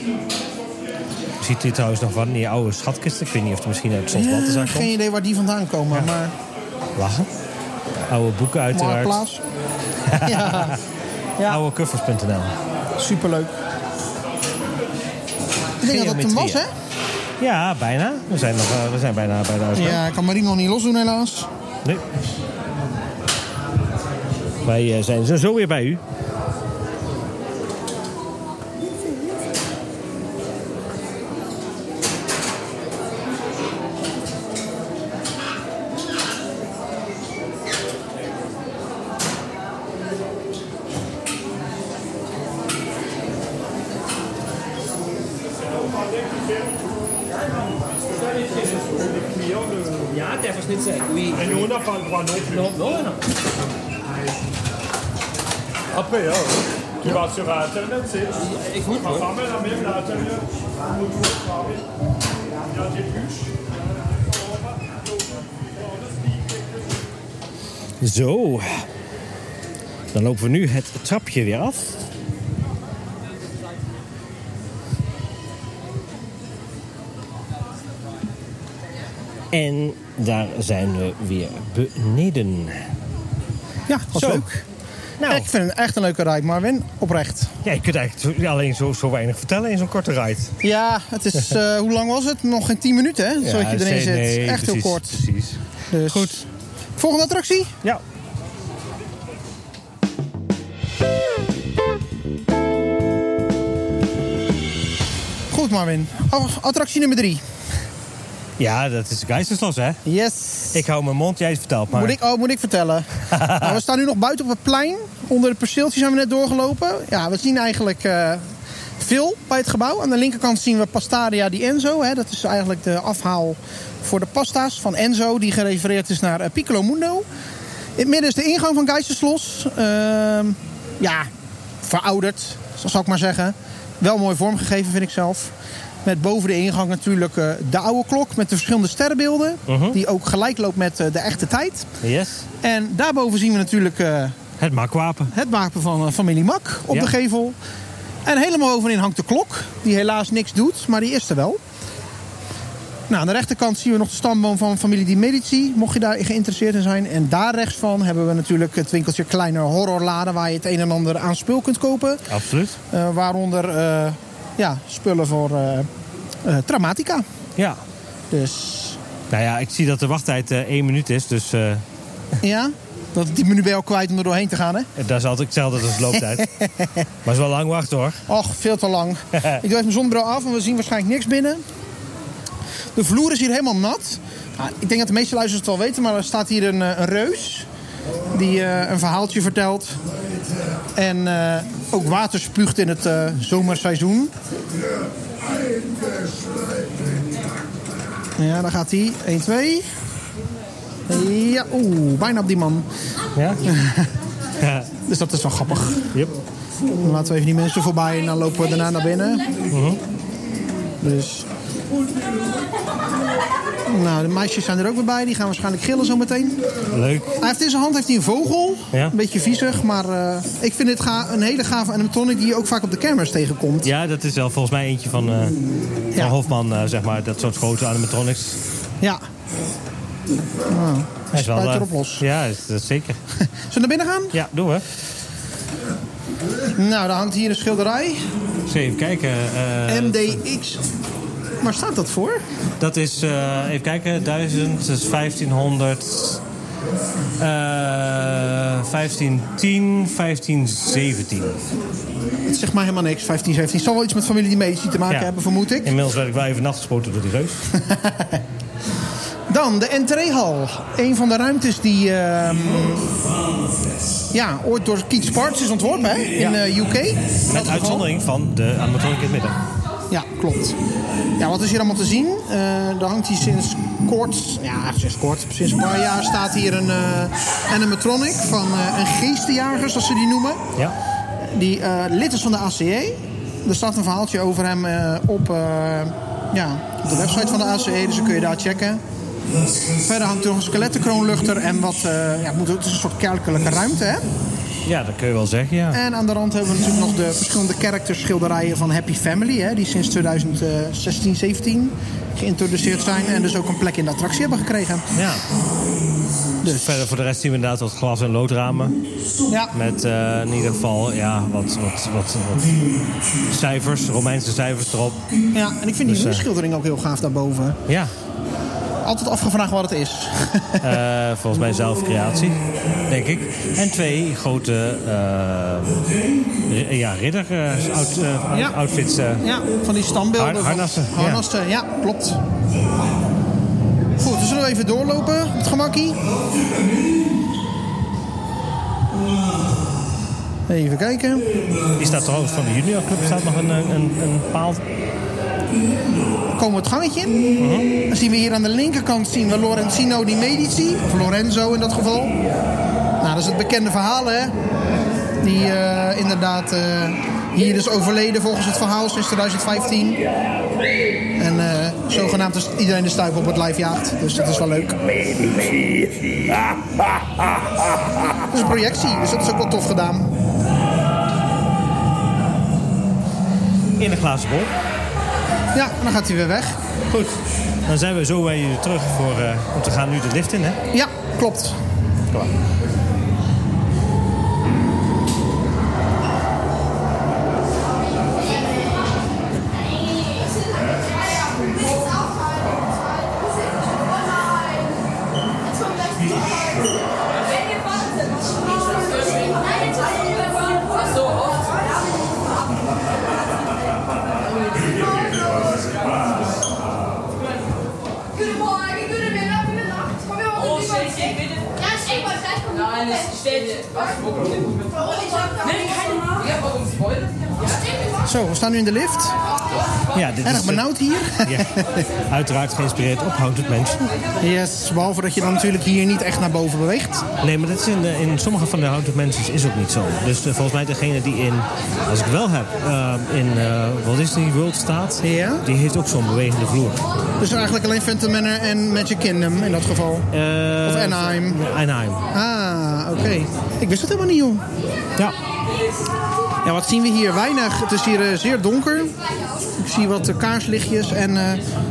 Speaker 2: je ziet hier trouwens nog wat in die oude schatkisten. Ik weet niet of het misschien uit Zonland is
Speaker 1: Ja,
Speaker 2: aankomt.
Speaker 1: geen idee waar die vandaan komen, maar
Speaker 2: Lachen. Oude boeken uiteraard.
Speaker 1: Marktplaats. ja. ja,
Speaker 2: Oude covers.nl.
Speaker 1: superleuk. Ik denk dat dat hem was, hè?
Speaker 2: Geometrie, Ja, bijna. We zijn, nog, eh, we zijn bijna bij de uitgang.
Speaker 1: Ja, ik kan Marino niet losdoen helaas.
Speaker 2: Nee. Wij eh, zijn zo, zo weer bij u.
Speaker 3: Ja, der verschnitt sig. Oui.
Speaker 4: En nu onderkant var nog
Speaker 3: Non, non, non.
Speaker 4: uppe, ja. Du var til retten, den til.
Speaker 3: Ikke hund på.
Speaker 4: Fra fremme eller mellem retten, ja. Motor framme. Ja, det er lys.
Speaker 2: Zo. Dan lopen we nu het trapje weer af. En daar zijn we weer beneden.
Speaker 1: Ja, was
Speaker 2: Zo.
Speaker 1: leuk.
Speaker 2: Nou,
Speaker 1: Ik vind het echt een leuke ride, Marvin. Oprecht.
Speaker 2: ja, je kunt eigenlijk zo- alleen zo, zo weinig vertellen in zo'n korte ride.
Speaker 1: Ja, het is, eh, hoe lang was het? Nog geen 10 minuten, hè? Zodat je erin
Speaker 2: nee,
Speaker 1: zit.
Speaker 2: nee,
Speaker 1: echt
Speaker 2: E, precies,
Speaker 1: heel kort.
Speaker 2: Precies.
Speaker 1: Dus.
Speaker 2: Goed.
Speaker 1: Volgende attractie?
Speaker 2: Ja.
Speaker 1: Goed, Marvin. Oh, attractie nummer 3.
Speaker 2: ja, dat is de Geisterslos, hè?
Speaker 1: Yes.
Speaker 2: Ik hou mijn mond, jij vertelt maar.
Speaker 1: Moet ik, oh, moet ik vertellen. Nou, we staan nu nog buiten op het plein. Onder het perceeltje zijn we net doorgelopen. Ja, we zien eigenlijk eh, veel bij het gebouw. Aan de linkerkant zien we Pastaria di Enzo. Hè. Dat is eigenlijk de afhaal voor de pasta's van Enzo. Die gerefereerd is naar eh, Piccolo Mundo. In het midden is de ingang van Geisterslos. Ehm, ja, verouderd, zo zou ik maar zeggen. Wel mooi vormgegeven, vind ik zelf. Met boven de ingang natuurlijk eh, de oude klok met de verschillende sterrenbeelden. Die ook gelijk loopt met eh, de echte tijd.
Speaker 2: Yes.
Speaker 1: En daarboven zien we natuurlijk eh,
Speaker 2: Het makwapen.
Speaker 1: het wapen van eh, familie Mak op
Speaker 2: Ja.
Speaker 1: de gevel. En helemaal bovenin hangt de klok, die helaas niks doet, maar die is er wel. Nou, aan de rechterkant zien we nog de stamboom van familie Di Medici, mocht je daar geïnteresseerd in zijn. En daar rechts van hebben we natuurlijk het winkeltje Kleiner Horrorladen, waar je het een en ander aan spul kunt kopen.
Speaker 2: Absoluut.
Speaker 1: Eh, waaronder eh, ja, spullen voor eh, eh, Traumatica.
Speaker 2: Ja.
Speaker 1: Dus
Speaker 2: Nou ja, ik zie dat de wachttijd eh één minuut is, dus eh,
Speaker 1: ja, dat die menu ben je al kwijt om er doorheen te gaan, hè?
Speaker 2: dat is altijd hetzelfde als de looptijd. maar het is wel lang wachten hoor.
Speaker 1: Och, veel te lang. ik doe even mijn zonnebril af, want we zien waarschijnlijk niks binnen. De vloer is hier helemaal nat. Ja, ik denk dat de meeste luisteraars het wel weten, maar er staat hier een, eh, een reus. Die eh, een verhaaltje vertelt. En eh, ook water spuugt in het eh, zomerseizoen. Ja, daar gaat hij. 1, 2. Ja, oeh, bijna op die man.
Speaker 2: Ja? ja.
Speaker 1: Dus dat is wel grappig.
Speaker 2: Yep.
Speaker 1: Dan laten we even die mensen voorbij en dan lopen we daarna naar binnen. Dus. Nou, de meisjes zijn er ook weer bij. Die gaan waarschijnlijk gillen zo meteen.
Speaker 2: Leuk.
Speaker 1: Hij heeft in zijn hand heeft hij een vogel.
Speaker 2: Ja.
Speaker 1: Een beetje viezig, maar eh, ik vind dit ga, een hele gave animatronic die je ook vaak op de kermis tegenkomt.
Speaker 2: Ja, dat is wel volgens mij eentje van, eh van
Speaker 1: Ja.
Speaker 2: Hofman, eh, zeg maar. Dat soort grote animatronics.
Speaker 1: Ja.
Speaker 2: Hij is wel,
Speaker 1: Spuit
Speaker 2: eh,
Speaker 1: erop los.
Speaker 2: Ja, is, dat zeker.
Speaker 1: Zullen we naar binnen gaan?
Speaker 2: Ja, doen we.
Speaker 1: Nou, daar hangt hier een schilderij.
Speaker 2: Eens even kijken. eh,
Speaker 1: MDX. Waar staat dat voor?
Speaker 2: dat is, eh, even kijken, 1000, dat is 1500. eh 1510, 1517.
Speaker 1: Het zegt mij helemaal niks. 15, 17. Zal wel iets met familie die medici te maken
Speaker 2: Ja.
Speaker 1: hebben, vermoed ik.
Speaker 2: Inmiddels werd ik wel even nachtgespoten door die reus.
Speaker 1: Dan de entreehal. Een van de ruimtes die ehm, ja, ooit door Keith Sparks is ontworpen hè, in eh, de UK.
Speaker 2: Met uitzondering van de animatronic in het midden.
Speaker 1: Ja, klopt. Ja, wat is hier allemaal te zien? Eh er hangt hier sinds kort, ja sinds kort, sinds een paar jaar staat hier een eh, animatronic van eh, een geestenjager, zoals ze die noemen.
Speaker 2: Ja.
Speaker 1: Die eh, lid is van de ACE. Er staat een verhaaltje over hem eh, op, eh, ja, op de website van de ACE, dus dan kun je daar checken. Verder hangt er nog een skelettenkroonluchter en wat, eh, ja, het moet- het is een soort kerkelijke ruimte. Hè?
Speaker 2: ja, dat kun je wel zeggen, ja.
Speaker 1: En aan de rand hebben we natuurlijk nog de verschillende karakterschilderijen van Happy Family, hè, die sinds 2016, 17 geïntroduceerd zijn en dus ook een plek in de attractie hebben gekregen.
Speaker 2: ja.
Speaker 1: Dus
Speaker 2: Verder voor de rest zien we inderdaad wat glas- en loodramen.
Speaker 1: ja,
Speaker 2: Met eh, in ieder geval ja, wat, wat, wat, wat cijfers, Romeinse cijfers erop.
Speaker 1: ja, en ik vind die
Speaker 2: eh,
Speaker 1: muurschildering ook heel gaaf daarboven.
Speaker 2: Ja,
Speaker 1: Altijd afgevraagd wat het is.
Speaker 2: eh, volgens mij zelfcreatie, denk ik. En twee grote eh, ri- ja, ridder eh, out- eh,
Speaker 1: Ja.
Speaker 2: outfits. eh.
Speaker 1: Ja, van die standbeelden.
Speaker 2: Har-
Speaker 1: van-
Speaker 2: harnassen, ja.
Speaker 1: Harnassen, ja. klopt. Goed, dus zullen we even doorlopen op het gemakkie? Even kijken.
Speaker 2: Die staat trouwens van de juniorclub, staat nog een, een, een- een paal.
Speaker 1: Komen we het gangetje in. Dan zien we hier aan de linkerkant zien we Lorenzino di Medici. Of Lorenzo in dat geval. Nou, dat is het bekende verhaal, hè. Die eh, inderdaad eh, hier is overleden volgens het verhaal sinds 2015. En eh, zogenaamd is iedereen de stuip op het lijf jaagt. Dus dat is wel leuk. Dat is een projectie, dus dat is ook wel tof gedaan.
Speaker 2: In een glazen bol.
Speaker 1: Ja, en dan gaat hij weer weg.
Speaker 2: Goed, dan zijn we zo bij jullie terug voor, eh, om te gaan nu de lift in, hè?
Speaker 1: Ja, klopt.
Speaker 2: Kom maar.
Speaker 5: Guten Morgen, guten Mittag, guten Nacht. Komm, wir machen lieber einen Shake. Ja, einen Shake, weil gleich kommt
Speaker 6: Nein,
Speaker 5: die
Speaker 6: es steht nicht.
Speaker 5: Ja,
Speaker 6: warum sie wollen?
Speaker 1: Zo, we staan nu in de lift.
Speaker 2: Ja, dit
Speaker 1: Erg
Speaker 2: is,
Speaker 1: benauwd hier.
Speaker 2: ja, uiteraard geïnspireerd op Hounded Mansion.
Speaker 1: Yes, behalve dat je dan natuurlijk hier niet echt naar boven beweegt.
Speaker 2: Nee, maar dat is in, de- in sommige van de Hounded Mansions is ook niet zo. Dus eh, volgens mij degene die in, als ik wel heb, eh, in eh, Walt Disney World staat...
Speaker 1: Ja?
Speaker 2: die heeft ook zo'n bewegende vloer.
Speaker 1: Dus eigenlijk alleen Phantom Manor en Magic Kingdom in dat geval.
Speaker 2: Eh,
Speaker 1: Of Anaheim.
Speaker 2: Anaheim.
Speaker 1: Ah, oké. Ik wist het helemaal niet, joh.
Speaker 2: Ja,
Speaker 1: Ja, wat zien we hier? Weinig. Het is hier eh, zeer donker. Ik zie wat eh, kaarslichtjes. En eh,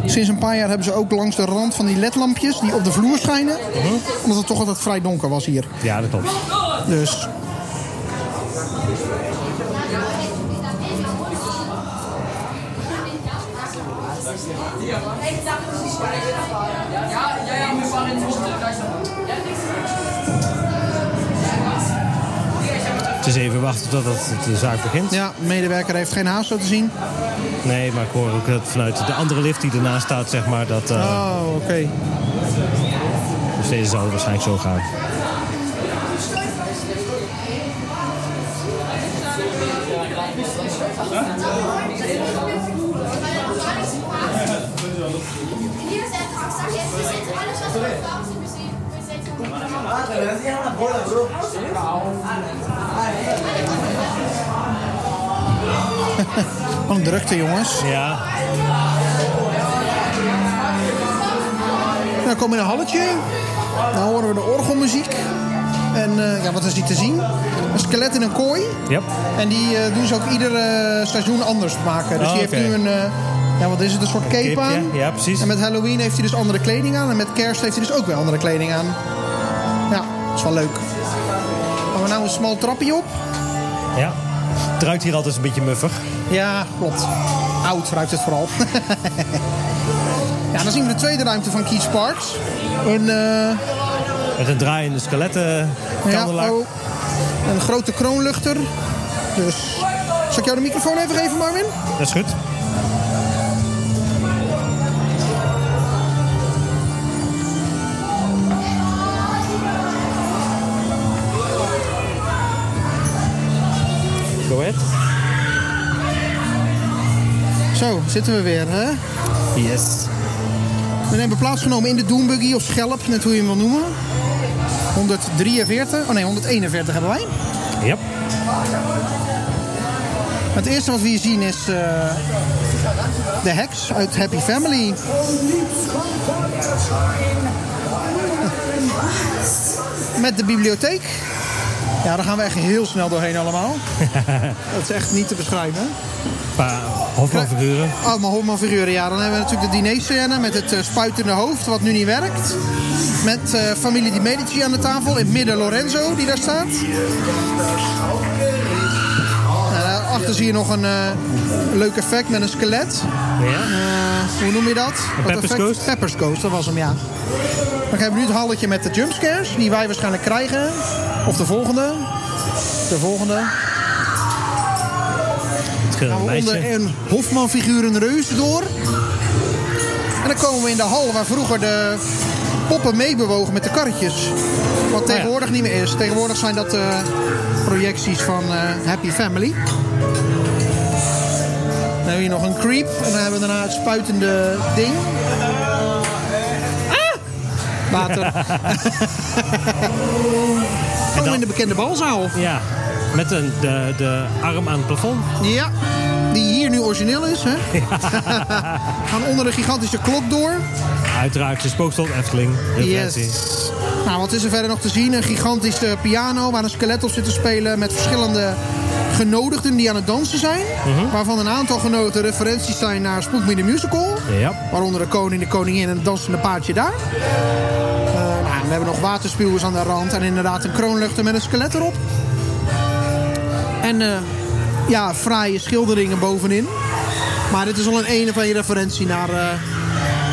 Speaker 1: sinds een paar jaar hebben ze ook langs de rand van die ledlampjes... die op de vloer schijnen. Omdat het toch altijd vrij donker was hier.
Speaker 2: ja dat klopt.
Speaker 1: Dus...
Speaker 6: Ja, ja, ja, wir fahren jetzt runter. Gleich noch. Ja, nichts.
Speaker 2: Het is even wachten tot het- de zaak begint.
Speaker 1: Ja, medewerker heeft geen haast zo te zien.
Speaker 2: Nee, maar ik hoor ook dat vanuit de andere lift die ernaast staat, zeg maar, dat... eh,
Speaker 1: Oh, oké. Oh.
Speaker 2: Dus deze zal het waarschijnlijk zo gaan.
Speaker 5: Hier ist der Tag, jetzt ist jetzt alles, was wir brauchen, sind wir sehen. Wir sehen uns.
Speaker 1: Wat een drukte, jongens.
Speaker 2: Ja,
Speaker 1: Nou, komen we in een halletje. Nou horen we de orgelmuziek. En eh, ja, wat is die te zien? Een skelet in een kooi.
Speaker 2: ja.
Speaker 1: En die eh, doen ze ook ieder eh, seizoen anders maken. Dus
Speaker 2: Oh,
Speaker 1: die heeft
Speaker 2: oké.
Speaker 1: nu een, eh, ja, wat is het, een soort cape,
Speaker 2: cape,
Speaker 1: aan.
Speaker 2: ja. Ja, precies.
Speaker 1: En met Halloween heeft hij dus andere kleding aan. En met kerst heeft hij dus ook weer andere kleding aan. Ja, dat is wel leuk. Gaan we nou een smal trapje op?
Speaker 2: ja. Het ruikt hier altijd een beetje muffig.
Speaker 1: Ja, klopt. Oud ruikt het vooral. ja, dan zien we de tweede ruimte van Keith Sparks. Een... eh,
Speaker 2: Met een draaiende skeletten kandelaar.
Speaker 1: oh. Een grote kroonluchter. Dus. Zal ik jou de microfoon even geven, Marvin?
Speaker 2: Dat is goed. Go ahead.
Speaker 1: Zo, zitten we weer. Hè?
Speaker 2: Yes.
Speaker 1: We hebben plaatsgenomen in de Doombuggy of Schelp, net hoe je hem wil noemen. 143, oh nee, 141 hebben wij.
Speaker 2: Yep.
Speaker 1: Het eerste wat we hier zien is eh, de heks uit Happy Family. Met de bibliotheek. Ja, daar gaan we echt heel snel doorheen allemaal. Dat is echt niet te beschrijven.
Speaker 2: Een paar Hofmanfiguren.
Speaker 1: Allemaal Holman-figuren, ja. Dan hebben we natuurlijk de dinerscène met het eh, spuitende hoofd, wat nu niet werkt. Met eh, familie Di Medici aan de tafel. In het midden Lorenzo, die daar staat. En Nou, daarachter zie je nog een eh, leuk effect met een skelet.
Speaker 2: Ja.
Speaker 1: Eh, hoe noem je dat? Wat
Speaker 2: Pepper's
Speaker 1: effect?
Speaker 2: Ghost?
Speaker 1: Pepper's Ghost, dat was hem, ja. Dan hebben we nu het halletje met de jumpscares, die wij waarschijnlijk krijgen. Of de volgende. De volgende.
Speaker 2: Het
Speaker 1: Gaan
Speaker 2: gele
Speaker 1: we onder
Speaker 2: meisje.
Speaker 1: een Hofman-figuur een reus door. En dan komen we in de hal waar vroeger de poppen meebewogen met de karretjes. Wat tegenwoordig niet meer is. Tegenwoordig zijn dat eh, projecties van eh, Happy Family. Dan hebben we hier nog een creep. En dan hebben we daarna het spuitende ding. Ah! Water. Komen we in de bekende balzaal.
Speaker 2: Ja. Met een, de, de arm aan het plafond.
Speaker 1: Ja, die hier nu origineel is, hè? Gaan onder de gigantische klok door.
Speaker 2: Uiteraard de spookstond Efteling. Referentie.
Speaker 1: Nou, wat is er verder nog te zien? Een gigantische piano waar een skelet op zit te spelen met verschillende genodigden die aan het dansen zijn. Waarvan een aantal genoten referenties zijn naar Spook Me The Musical.
Speaker 2: Ja.
Speaker 1: Waaronder de koning, de koningin en het dansende paardje daar. Eh, nou, we hebben nog waterspuwers aan de rand. En inderdaad een kroonluchter met een skelet erop. En eh, ja, fraaie schilderingen bovenin. Maar dit is al een een of een referentie naar eh,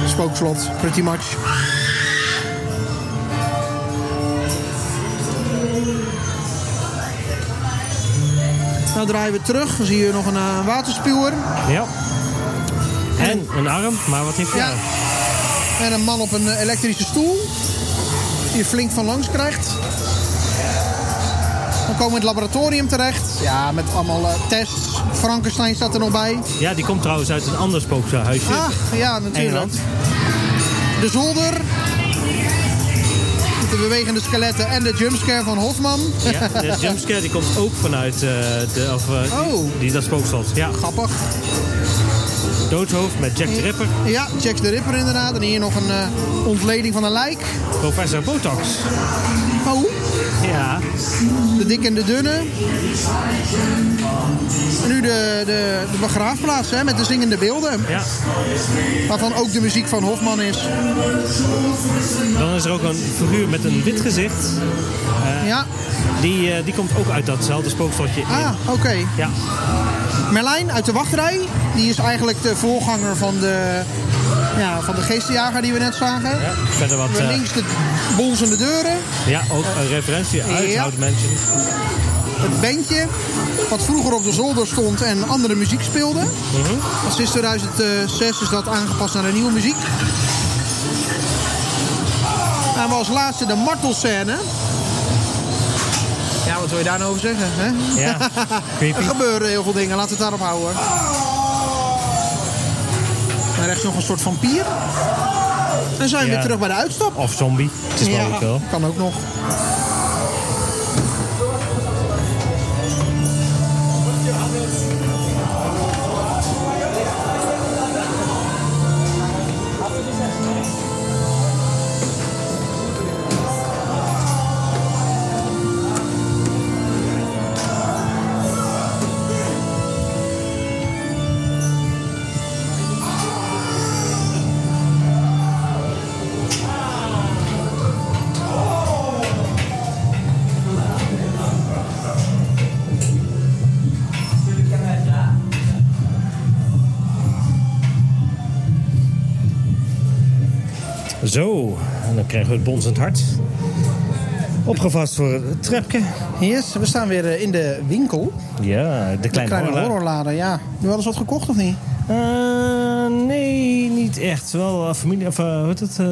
Speaker 1: Spookslot, pretty much. Nou draaien we terug. Dan zie je nog een eh, waterspuwer.
Speaker 2: Ja. En een arm, maar wat heeft hij
Speaker 1: Ja.
Speaker 2: nou?
Speaker 1: En een man op een eh, elektrische stoel. Die je flink van langs krijgt. Dan komen we in het laboratorium terecht. Ja, met allemaal eh, tests. Frankenstein staat er nog bij.
Speaker 2: Ja, die komt trouwens uit een ander spookhuisje.
Speaker 1: Ah, ja, natuurlijk.
Speaker 2: Engeland.
Speaker 1: De zolder. Met de bewegende skeletten en de jumpscare van Hofman.
Speaker 2: Ja, de jumpscare die komt ook vanuit eh, de, of, eh,
Speaker 1: Oh.
Speaker 2: die, dat spookslot. Ja,
Speaker 1: Grappig.
Speaker 2: doodshoofd met Jack the Ripper,
Speaker 1: Ja, Jack de Ripper inderdaad. En hier nog een eh, ontleding van een lijk.
Speaker 2: professor Botox.
Speaker 1: Oh,
Speaker 2: Ja,
Speaker 1: de dikke en de dunne. En nu de, de, de begraafplaats hè, met de zingende beelden.
Speaker 2: ja.
Speaker 1: Waarvan ook de muziek van Hofman is.
Speaker 2: Dan is er ook een figuur met een wit gezicht.
Speaker 1: Ja,
Speaker 2: Die, eh, die komt ook uit datzelfde spookslotje. in.
Speaker 1: ah, oké.
Speaker 2: Ja,
Speaker 1: Merlijn uit de wachtrij. Die is eigenlijk de voorganger van de, ja, van de geestenjager die we net zagen.
Speaker 2: ja, verder wat.
Speaker 1: We
Speaker 2: eh,
Speaker 1: links de bonzende deuren.
Speaker 2: ja, ook een referentie uit
Speaker 1: ja.
Speaker 2: Oud Mansion.
Speaker 1: Het bandje. Wat vroeger op de zolder stond en andere muziek speelde.
Speaker 2: Mhm.
Speaker 1: Dat Sinds 2006 is dat aangepast naar de nieuwe muziek. En we Nou, als laatste de martelscène. Ja, wat wil je daar nou over zeggen? Hè?
Speaker 2: Ja, creepy.
Speaker 1: er gebeuren heel veel dingen, laten we het daarop houden. En rechts nog een soort vampier. En zijn we
Speaker 2: Ja.
Speaker 1: weer terug bij de uitstap.
Speaker 2: Of zombie. Het is wel
Speaker 1: Ja,
Speaker 2: ook wel.
Speaker 1: Kan ook nog.
Speaker 2: Zo, en dan krijgen we het bonzend hart. Opgevast voor het trapje.
Speaker 1: Yes, we staan weer eh, in de winkel.
Speaker 2: Ja, de
Speaker 1: De
Speaker 2: kleine,
Speaker 1: kleine
Speaker 2: horror.
Speaker 1: horrorladen, ja. Heb je wel eens wat gekocht of niet?
Speaker 2: Eh, nee, niet echt. Wel eh, familie, of eh, hoe heet het? eh,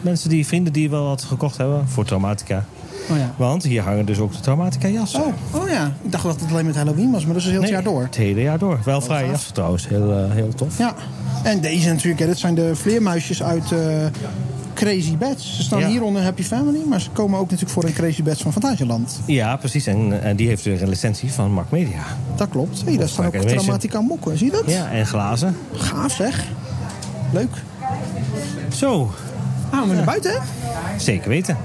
Speaker 2: mensen die, vrienden die wel wat gekocht hebben voor traumatica.
Speaker 1: Oh ja.
Speaker 2: Want hier hangen dus ook de traumatica jassen.
Speaker 1: Oh, oh ja. Ik dacht dat het alleen met Halloween was, maar dat is dus heel het jaar
Speaker 2: Nee,
Speaker 1: door. Oh,
Speaker 2: Het hele jaar door. Wel vrije
Speaker 1: gaaf.
Speaker 2: jassen trouwens. Heel, eh, heel tof.
Speaker 1: Ja. En deze natuurlijk, hè, dit zijn de vleermuisjes uit eh, Crazy Bats. Ze staan
Speaker 2: Ja.
Speaker 1: hier onder Happy Family, maar ze komen ook natuurlijk voor in Crazy Bats van Fantasieland.
Speaker 2: Ja, precies. En, en die heeft weer een licentie van Mark Media.
Speaker 1: Dat klopt. Hé, daar staan ook
Speaker 2: Vaak aanwezig.
Speaker 1: Traumatica mokken, zie je dat?
Speaker 2: Ja, en glazen.
Speaker 1: Gaaf zeg. Leuk.
Speaker 2: Zo,
Speaker 1: Ah, we zijn naar buiten, hè?
Speaker 2: zeker weten.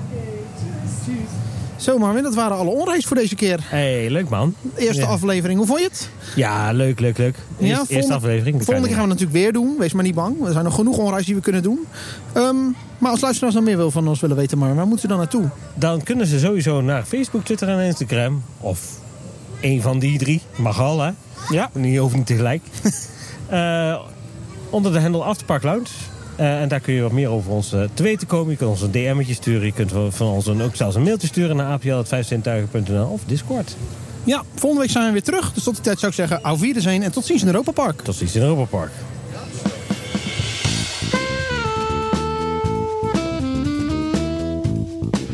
Speaker 1: Zo, Marvin, dat waren alle onrace voor deze keer.
Speaker 2: hey, leuk man.
Speaker 1: Eerste
Speaker 2: ja.
Speaker 1: aflevering, hoe vond je het?
Speaker 2: Ja, leuk, leuk, leuk. Eerst,
Speaker 1: volgende-
Speaker 2: eerste aflevering. de
Speaker 1: Volgende keer gaan we het natuurlijk weer doen. Wees maar niet bang. Er zijn nog genoeg onreis die we kunnen doen. Ehm, maar als luisteraars nog meer wil van ons willen weten, maar waar moeten ze dan naartoe?
Speaker 2: Dan kunnen ze sowieso naar Facebook, Twitter en Instagram. Of één van die drie. Mag al, hè?
Speaker 1: Ja.
Speaker 2: Die hoeft niet tegelijk. Eh, onder de hendel Afterpark Lounge. Eh, en daar kun je wat meer over ons eh, te weten komen. Je kunt ons een DM'tje sturen. Je kunt van- van ons een, ook zelfs een mailtje sturen naar apl.vijfzintuigen.nl of Discord.
Speaker 1: Ja, volgende week zijn we weer terug. Dus tot die tijd zou ik zeggen, au vieren zijn en tot ziens in Europa Park.
Speaker 2: Tot ziens in Europa Park.